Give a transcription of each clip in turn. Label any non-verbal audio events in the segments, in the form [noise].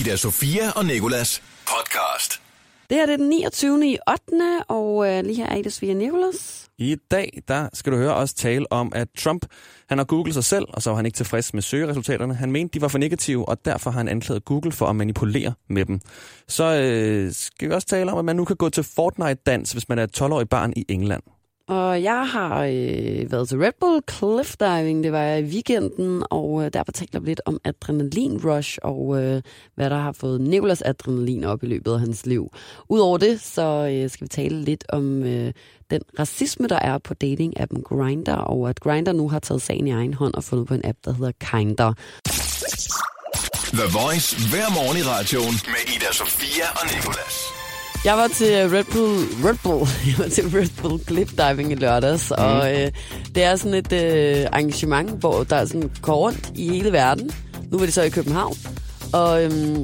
Ida Sofia og Nikolas podcast. Det her det er den 29. i 8. Og øh, lige her er Ida Svia Nicholas. I dag, der skal du høre os tale om, at Trump, han har googlet sig selv, og så var han ikke tilfreds med søgeresultaterne. Han mente, de var for negative, og derfor har han anklaget Google for at manipulere med dem. Så øh, skal vi også tale om, at man nu kan gå til Fortnite-dans, hvis man er et 12-årig barn i England. Og jeg har øh, været til Red Bull Cliff Diving, det var jeg i weekenden, og øh, derfor taler vi lidt om adrenalin rush, og øh, hvad der har fået Nicolas adrenalin op i løbet af hans liv. Udover det, så øh, skal vi tale lidt om øh, den racisme, der er på dating-appen Grindr, og at Grindr nu har taget sagen i egen hånd og fundet på en app, der hedder Kinder. The Voice hver morgen i radioen med Ida Sofia og Nikolas. Jeg var til øh, Red Bull, Red Bull, [laughs] jeg var til Red Bull Cliff Diving i lørdags, og øh, det er sådan et øh, arrangement, hvor der er sådan går rundt i hele verden. Nu var det så i København, og øhm,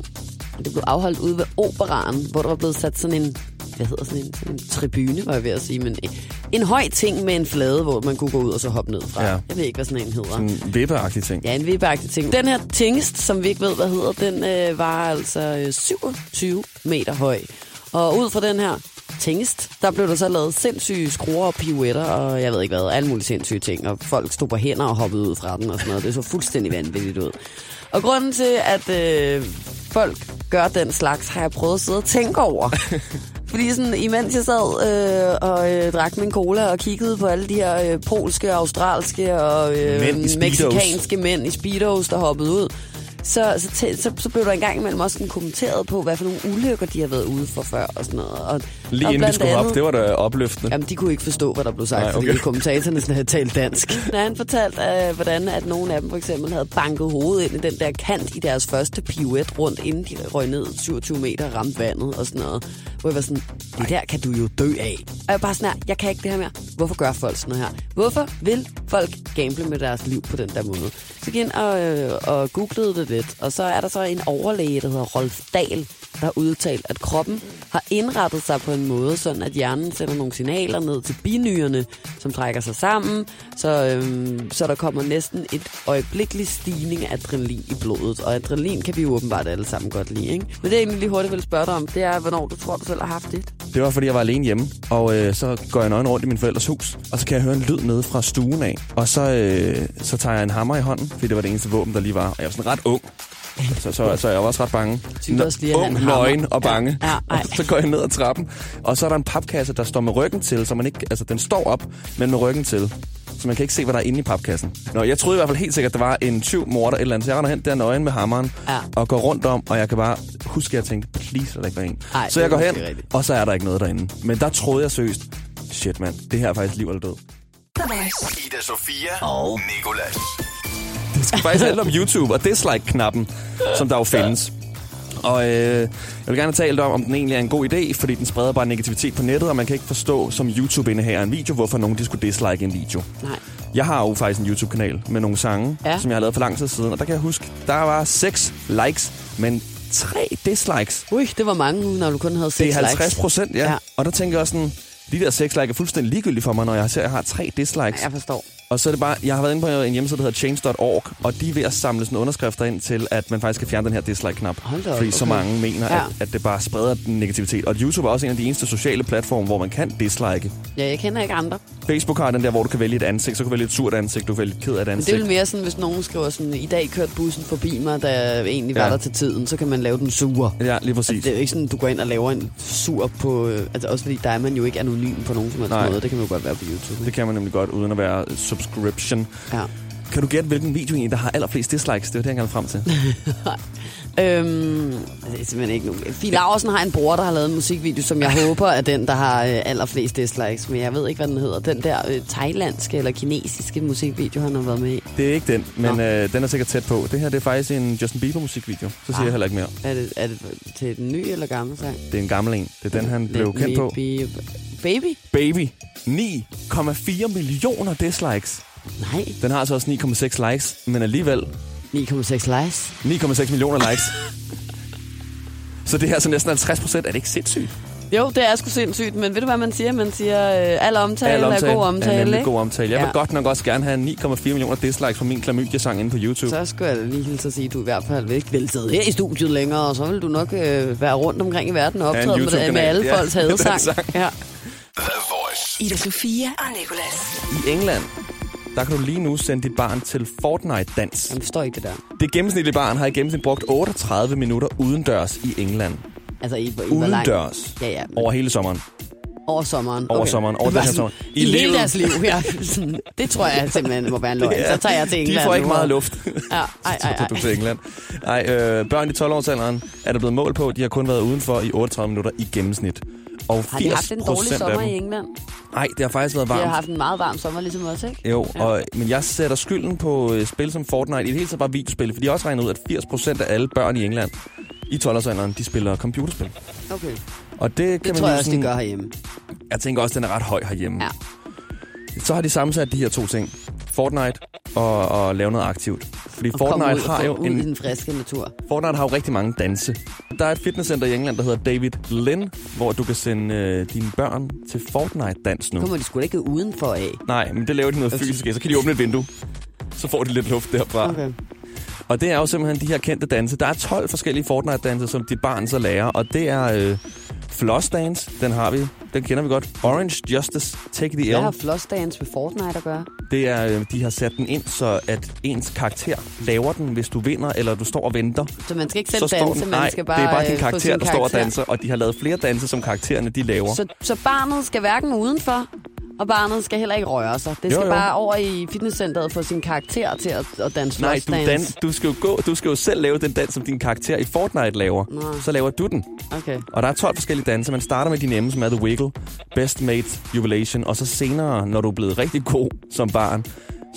det blev afholdt ude ved Operaren, hvor der var blevet sat sådan en, hvad hedder sådan en, sådan en tribune, var jeg ved at sige, men en, en høj ting med en flade, hvor man kunne gå ud og så hoppe ned fra. Ja. Ja. Jeg ved ikke, hvad sådan en hedder. En vippeagtig ting. Ja, en Mm, vippeagtig ting. Den her tingest, som vi ikke ved, hvad hedder, den øh, var altså øh, 27 meter høj. Og ud fra den her tingest, der blev der så lavet sindssyge skruer og pirouetter, og jeg ved ikke hvad, alle mulige sindssyge ting. Og folk stod på hænder og hoppede ud fra den og sådan noget. Det så fuldstændig vanvittigt ud. Og grunden til, at øh, folk gør den slags, har jeg prøvet at sidde og tænke [laughs] over. Fordi sådan, imens jeg sad øh, og øh, drak min cola og kiggede på alle de her øh, polske, australske og øh, Mænd i speedos. meksikanske mænd i speedos, der hoppede ud, så, så, tæ- så, så blev der engang imellem også sådan kommenteret på, hvad for nogle ulykker de har været ude for før og sådan noget. Og, Lige og inden de blandt skulle op, andet- det var da opløftende. Jamen, de kunne ikke forstå, hvad der blev sagt, Nej, Nej, okay. fordi okay. kommentatorerne sådan havde talt [laughs] dansk. Når han fortalte, øh, hvordan at nogle af dem for eksempel havde banket hovedet ind i den der kant i deres første pirouette rundt, inden de røg ned 27 meter og ramte vandet og sådan noget. Hvor jeg var sådan, det der kan du jo dø af. Og jeg var bare sådan her, jeg kan ikke det her mere. Hvorfor gør folk sådan noget her? Hvorfor vil folk gamble med deres liv på den der måde? Så gik jeg ind og, øh, og googlede det lidt, og så er der så en overlæge, der hedder Rolf Dahl, der har udtalt, at kroppen har indrettet sig på en måde, sådan at hjernen sender nogle signaler ned til binyrerne, som trækker sig sammen, så, øhm, så der kommer næsten et øjeblikkeligt stigning af adrenalin i blodet. Og adrenalin kan vi jo åbenbart alle sammen godt lide, ikke? Men det jeg egentlig lige hurtigt vil spørge dig om, det er, hvornår du tror, du selv har haft det. Det var, fordi jeg var alene hjemme, og øh, så går jeg nøgen rundt i min forældres hus, og så kan jeg høre en lyd nede fra stuen af, og så, øh, så tager jeg en hammer i hånden, fordi det var det eneste våben, der lige var, og jeg var sådan ret ung. Så, så, så jeg var også ret bange. Typisk også lige at have en ung, hammer. nøgen og bange. [laughs] Ja, ja, ej. og så går jeg ned ad trappen, og så er der en papkasse, der står med ryggen til, så man ikke, altså den står op, men med ryggen til. Så man kan ikke se, hvad der er inde i papkassen. Nå, jeg troede i hvert fald helt sikkert, at der var en tyv morder et eller andet. Så jeg render hen der nøgen med hammeren Ja. og går rundt om, og jeg kan bare huske, at jeg tænkte, please, lad der ikke være en. Ej, så det jeg er går hen, måske rigtigt. og så er der ikke noget derinde. Men der troede jeg seriøst, shit mand, det her er faktisk liv eller død. Ida Sofia og Nikolas. Det skal faktisk handle om YouTube og dislike-knappen, som der jo findes. Og øh, jeg vil gerne tale om, om den egentlig er en god idé, fordi den spreder bare negativitet på nettet, og man kan ikke forstå som YouTube-indehaver af en video, hvorfor nogen de skulle dislike en video. Nej. Jeg har jo faktisk en YouTube-kanal med nogle sange, Ja. ja. som jeg har lavet for lang tid siden, og der kan jeg huske, der var 6 likes, men 3 dislikes. Ui, det var mange, når du kun havde 6 Det er likes. 50 procent, ja. Ja. ja. Og der tænker jeg også sådan, de der 6 like er fuldstændig ligegyldige for mig, når jeg ser, at jeg har tre dislikes. Jeg forstår. Og så er det bare, jeg har været inde på en hjemmeside, der hedder change.org, og de er ved at samle sådan underskrifter ind til, at man faktisk skal fjerne den her dislike-knap. Hold da op, fordi så okay. mange mener, Ja. ja. at, at, det bare spreder den negativitet. Og YouTube er også en af de eneste sociale platforme, hvor man kan dislike. Ja, jeg kender ikke andre. Facebook har den der, hvor du kan vælge et ansigt, så kan du vælge et surt ansigt, du kan vælge et ked af et Men det er ansigt. vel mere sådan, hvis nogen skriver sådan, i dag kørte bussen forbi mig, der egentlig var Ja. der til tiden, så kan man lave den sure. Ja, lige præcis. Det er jo ikke sådan, du går ind og laver en sur på... øh, Altså også fordi, der er man jo ikke anonym på nogen som helst Nej. måde. Det kan man jo godt være på YouTube. det kan man nemlig godt, uden at være subscription. Ja. [laughs] Kan du gætte, hvilken video egentlig, der har allerflest dislikes? Det er det, jeg gerne frem til. Øhm, det er simpelthen ikke nogen... Fie Laursen har en bror, der har lavet en musikvideo, som jeg [laughs] håber er den, der har øh, allerflest dislikes. Men jeg ved ikke, hvad den hedder. Den der øh, thailandske eller kinesiske musikvideo, han har været med i. Det er ikke den, men Nå. øh, den er sikkert tæt på. Det her det er faktisk en Justin Bieber musikvideo. Så siger Ah. jeg heller ikke mere. Er det, er det til den nye eller gamle sang? Det er en gammel en. Det er den, han blev Let kendt me på. be- Baby? Baby. 9,4 millioner dislikes. Nej. Den har altså også 9,6 likes, men alligevel 9,6 likes. 9,6 millioner likes. Så det her er så næsten 50 altså procent. Er det ikke sindssygt? Jo, det er sgu sindssygt, men ved du, hvad man siger? Man siger, øh, al omtale, Al omtale er god er omtale, nemlig ikke? god omtale. Jeg ja. Ja. vil godt nok også gerne have 9,4 millioner dislikes på min klamydia-sang inde på YouTube. Så. Så skulle jeg lige hilse at sige, at du i hvert fald ikke vil sidde her i studiet længere, og så vil du nok øh, være rundt omkring i verden og Ja, en optræde med, det- med alle YouTube-kanal. Ja, [laughs] folks med den hadesang. sang. Ja. The Voice. Ida Sofia og Nicolas. I England, der kan du lige nu sende dit barn til Fortnite-dans. Jeg forstår ikke det der. Det gennemsnitlige barn har i gennemsnit brugt 38 minutter udendørs i England. Altså, i, i hvor langt? Udendørs. Ja, ja. men Over hele sommeren. Over sommeren. Over sommeren. Over Det var den her sådan, sommer. I, I hele livet. deres liv, ja. Sådan, Det tror jeg simpelthen må være en løgn. Så tager jeg til England. De får ikke nu. meget luft. Ja, ej, ej, [laughs] Så ej. tog du til England. Ej, øh, børn i 12-årsalderen er der blevet mål på. De har kun været udenfor i 38 minutter i gennemsnit. Og Har de haft en dårlig sommer i England? Nej, det har faktisk været De varmt. har haft en meget varm sommer, ligesom os, ikke? Jo, Ja. ja. og, men jeg sætter skylden på øh, spil som Fortnite, i det hele taget bare videospil, for de har også regnet ud, at 80% af alle børn i England i 12-årsalderen, de spiller computerspil. Okay. Og det kan Det man tror jo jeg også, de sådan, gør herhjemme. Jeg tænker også, at den er ret høj herhjemme. Ja. Så har de sammensat de her to ting. Fortnite og, og lave noget aktivt. Fordi Og komme ud, Fortnite og har få jo ud i en, den friske natur. Fortnite har jo rigtig mange danse. Der er et fitnesscenter i England, der hedder David Lynn, hvor du kan sende øh, dine børn til Fortnite-dans nu. Kommer de sgu da ikke udenfor af. Nej, men det laver de noget fysisk af. Så kan de åbne et vindue. Så får de lidt luft derfra. Altså- Okay. Og det er jo simpelthen de her kendte danse. Der er 12 forskellige Fortnite-danse, som dit barn så lærer. Og det er øh, floss dance, den har vi. Den kender vi godt. Orange Justice, Take the Hvad har L. flossdance med Fortnite at gøre? Det er, øh, de har sat den ind, så at ens karakter laver den, hvis du vinder, eller du står og venter. Så man skal ikke så selv står danse, den, man nej, skal bare det er bare øh, din få karakter, sin der står og danser, og de har lavet flere danse, som karaktererne de laver. Så, så barnet skal hverken udenfor, og barnet skal heller ikke røre sig. Det Jo, skal jo. bare over i fitnesscenteret og få sin karakter til at, at danse Nej, du, flossdance. dan, du, skal jo gå, du skal jo selv lave den dans, som din karakter i Fortnite laver. Nå. Så laver du den. Okay. Og der er 12 forskellige danse. Man starter med de nemme, som er The Wiggle, Best Mate, Jubilation, og så senere, når du er blevet rigtig god som barn,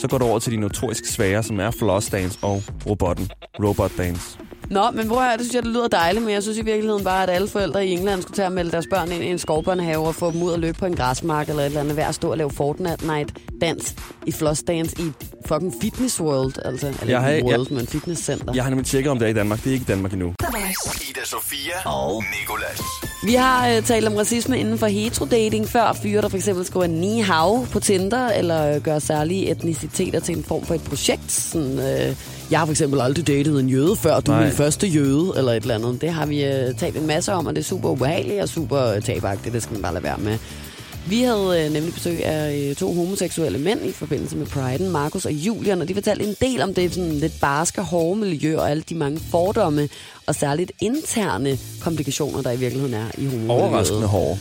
så går du over til de notorisk svære, som er Floss Dance og Robotten, Robot Dance. Nå, men hvor her, det synes jeg, det lyder dejligt, men jeg synes i virkeligheden bare, at alle forældre i England skulle tage at melde deres børn ind i en skovbørnehave og få dem ud og løbe på en græsmark eller et eller andet hver stå og lave Fortnite-dans i flossdance i fucking Fitness World, altså. Eller Jeg har- ikke World, jeg- men Fitness Center. Jeg har nemlig tjekket, om det er i Danmark. Det er ikke i Danmark endnu. The Voice. Ida Sofia og Nicolas. Vi har øh, talt om racisme inden for heterodating før. Fyre, der for eksempel skriver ni hav på Tinder, eller øh, gør særlige etniciteter til en form for et projekt. Sådan, øh, jeg har for eksempel aldrig datet en jøde før, du er Nej. min første jøde, eller et eller andet. Det har vi øh, talt en masse om, og det er super ubehageligt og super øh, tabagtigt. Det skal man bare lade være med. Vi havde øh, nemlig besøg af øh, to homoseksuelle mænd i forbindelse med Pride'en, Markus og Julian, og de fortalte en del om det sådan lidt barske, hårde miljø og alle de mange fordomme og særligt interne komplikationer, der i virkeligheden er i homomiljøet. Overraskende hårde.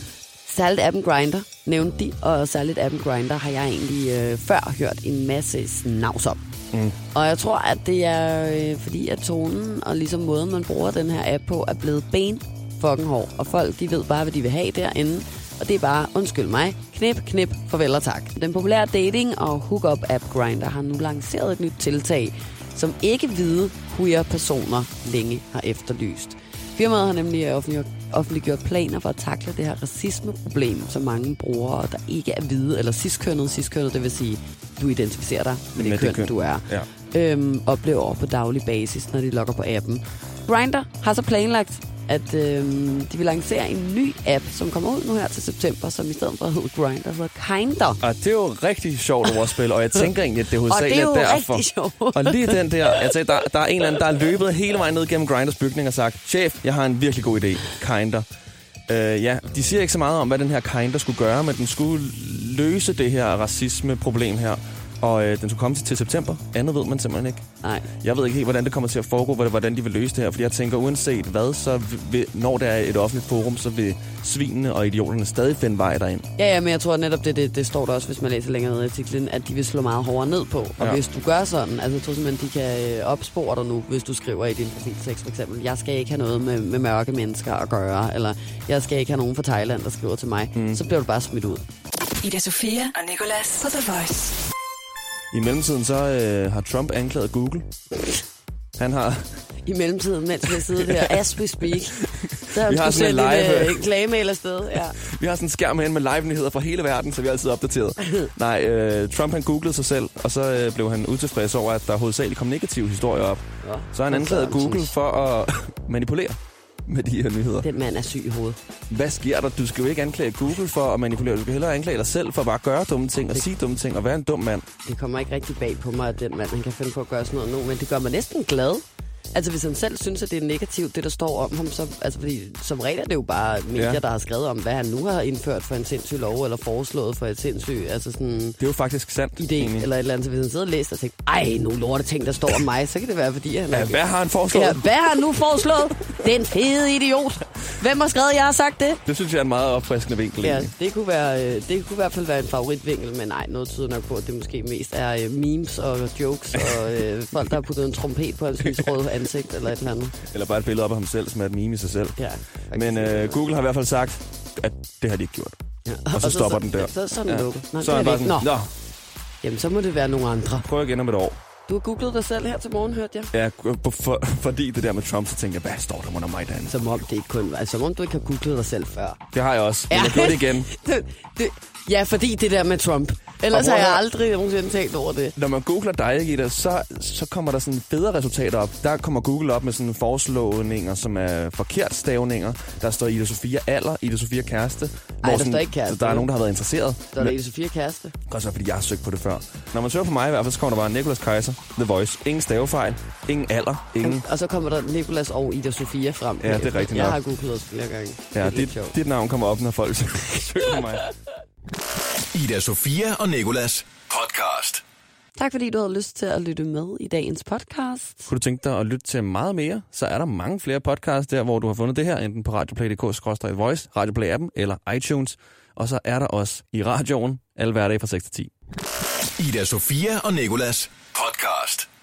Særligt appen Grinder nævnte de, og særligt appen Grinder har jeg egentlig øh, før hørt en masse snavs om. Mm. Og jeg tror, at det er øh, fordi, at tonen og ligesom måden, man bruger den her app på, er blevet ben fucking hård. Og folk, de ved bare, hvad de vil have derinde. Og det er bare, undskyld mig, knip, knip, farvel og tak. Den populære dating- og hookup-app Grinder har nu lanceret et nyt tiltag, som ikke hvide queer personer længe har efterlyst. Firmaet har nemlig øh, offentliggjort, offentliggjort planer for at takle det her racismeproblem, som mange brugere, der ikke er hvide eller ciskønnet, ciskønnet, det vil sige, du identificerer dig med det, Med køn, det køn, du er, ja. øhm, oplever på daglig basis, når de logger på appen. Grindr har så planlagt, at øhm, de vil lancere en ny app, som kommer ud nu her til september, som i stedet for hedder Grindr, hedder Kinder. Og det er jo rigtig sjovt [laughs] ordspil, og jeg tænker egentlig, at det hovedsageligt Og det er jo derfor. rigtig sjovt. Og lige den der, altså, der, der er en eller anden, der er løbet hele vejen ned gennem Grinders bygning og sagt, chef, jeg har en virkelig god idé, Kinder. Øh, ja, de siger ikke så meget om, hvad den her Kinder skulle gøre, men den skulle løse det her racisme-problem her. Og øh, den skulle komme til, til september. Andet ved man simpelthen ikke. Nej. Jeg ved ikke helt, hvordan det kommer til at foregå, hvordan- hvordan de vil løse det her, fordi jeg tænker, uanset hvad, så vil, når der er et offentligt forum, så vil svinene og idioterne stadig finde vej derind. Ja, ja, men jeg tror netop, det, det, det står der også, hvis man læser længere ned i artiklen, at de vil slå meget hårdere ned på. Og ja. Ja. hvis du gør sådan, altså jeg tror simpelthen, de kan øh, opspore dig nu, hvis du skriver i din profiltekst for eksempel, jeg skal ikke have noget med, med mørke mennesker at gøre, eller jeg skal ikke have nogen fra Thailand, der skriver til mig, mm. så bliver du bare smidt ud. Ida Sofia og Nicolas på The Voice. I mellemtiden så øh, har Trump anklaget Google. Han har, [laughs] I mellemtiden, mens vi sidder der, as we speak, så har Vi vi har skulle sådan en sende en, live- øh, en klagemail afsted. Ja. Vi har sådan en skærm herinde med live-nyheder fra hele verden, så vi er altid opdateret. Nej, øh, Trump han googlede sig selv, og så øh, blev han utilfreds over, at der hovedsageligt kom negative historier op. Nå, Så han for anklagede søren, Google synes. for at [laughs] manipulere med de her nyheder. Den mand er syg i hovedet. Hvad sker der? Du skal jo ikke anklage Google for at manipulere. Du skal hellere anklage dig selv for at bare gøre dumme ting og sige dumme ting og være en dum mand. Det kommer ikke rigtig bag på mig, at den mand han kan finde på at gøre sådan noget nu, men det gør mig næsten glad. Altså hvis han selv synes, at det er negativt, det der står om ham, så, altså, fordi som regel er det jo bare medier, Ja. ja. der har skrevet om, hvad han nu har indført for en sindssyg lov, eller foreslået for et sindssyg, altså sådan Det er jo faktisk sandt. idé, egentlig. eller et eller andet. Så hvis han sidder og læser og tænker, ej, nogle lorte ting, der står om mig, så kan det være, fordi han Ja, er hvad har han foreslået? Ja, hvad har han nu foreslået? Den fede idiot. Hvem har skrevet, jeg har sagt det? Det synes jeg er en meget opfriskende vinkel. Ja, egentlig. det kunne, være, øh, det kunne i hvert fald være en favoritvinkel, men nej, noget tyder nok på, at det måske mest er øh, memes og jokes og øh, folk, der har puttet en trompet på hans lysrøde ansigt eller et eller andet. Eller bare et billede op af ham selv, som er et meme i sig selv. Ja, Men øh, Google har i hvert fald sagt, at det har de ikke gjort. Ja. Og så stopper den der. Så, så, så er den lukket. Nå, så er han det er bare væk. sådan, Nå. Nå. Jamen, så må det være nogle andre. prøv igen om et år. Du har googlet dig selv her til morgen, hørte jeg. Ja, for, for, fordi det der med Trump, så tænker jeg, hvad står der under mig derinde? Som om det ikke kun var, som om du ikke har googlet dig selv før. Det har jeg også, men jeg gjorde det igen. [laughs] det, det, ja, fordi det der med Trump. Ellers prøv har at jeg høre- aldrig nogensinde tænkt over det. Når man googler dig, Gitte, så, så kommer der sådan federe resultater op. Der kommer Google op med sådan forslåninger, som er forkert stavninger. Der står Ida Sofia alder, Ida Sofia kæreste. hvor der står ikke kæreste. Der er nogen, der har været interesseret. Der er det Sofia kæreste. Godt så, fordi jeg har søgt på det før. Når man søger på mig i hvert fald, så kommer der bare Nicolas Kaiser, The Voice. Ingen stavefejl, ingen alder, ingen... Og så kommer der Nikolas og Ida Sofia frem. Mm. Ja, det er rigtigt Jeg nok. har googlet os flere gange. Ja, det er lidt dit, sjovt. dit navn kommer op, når folk søger på mig. [laughs] Ida Sofia og Nikolas podcast. Tak fordi du havde lyst til at lytte med i dagens podcast. Kunne du tænke dig at lytte til meget mere, så er der mange flere podcasts der, hvor du har fundet det her, enten på radioplay.dk-voice, Radioplay-appen eller iTunes. Og så er der også i radioen alle hverdage fra 6 til 10. Ida Sofia og Nikolas podcast.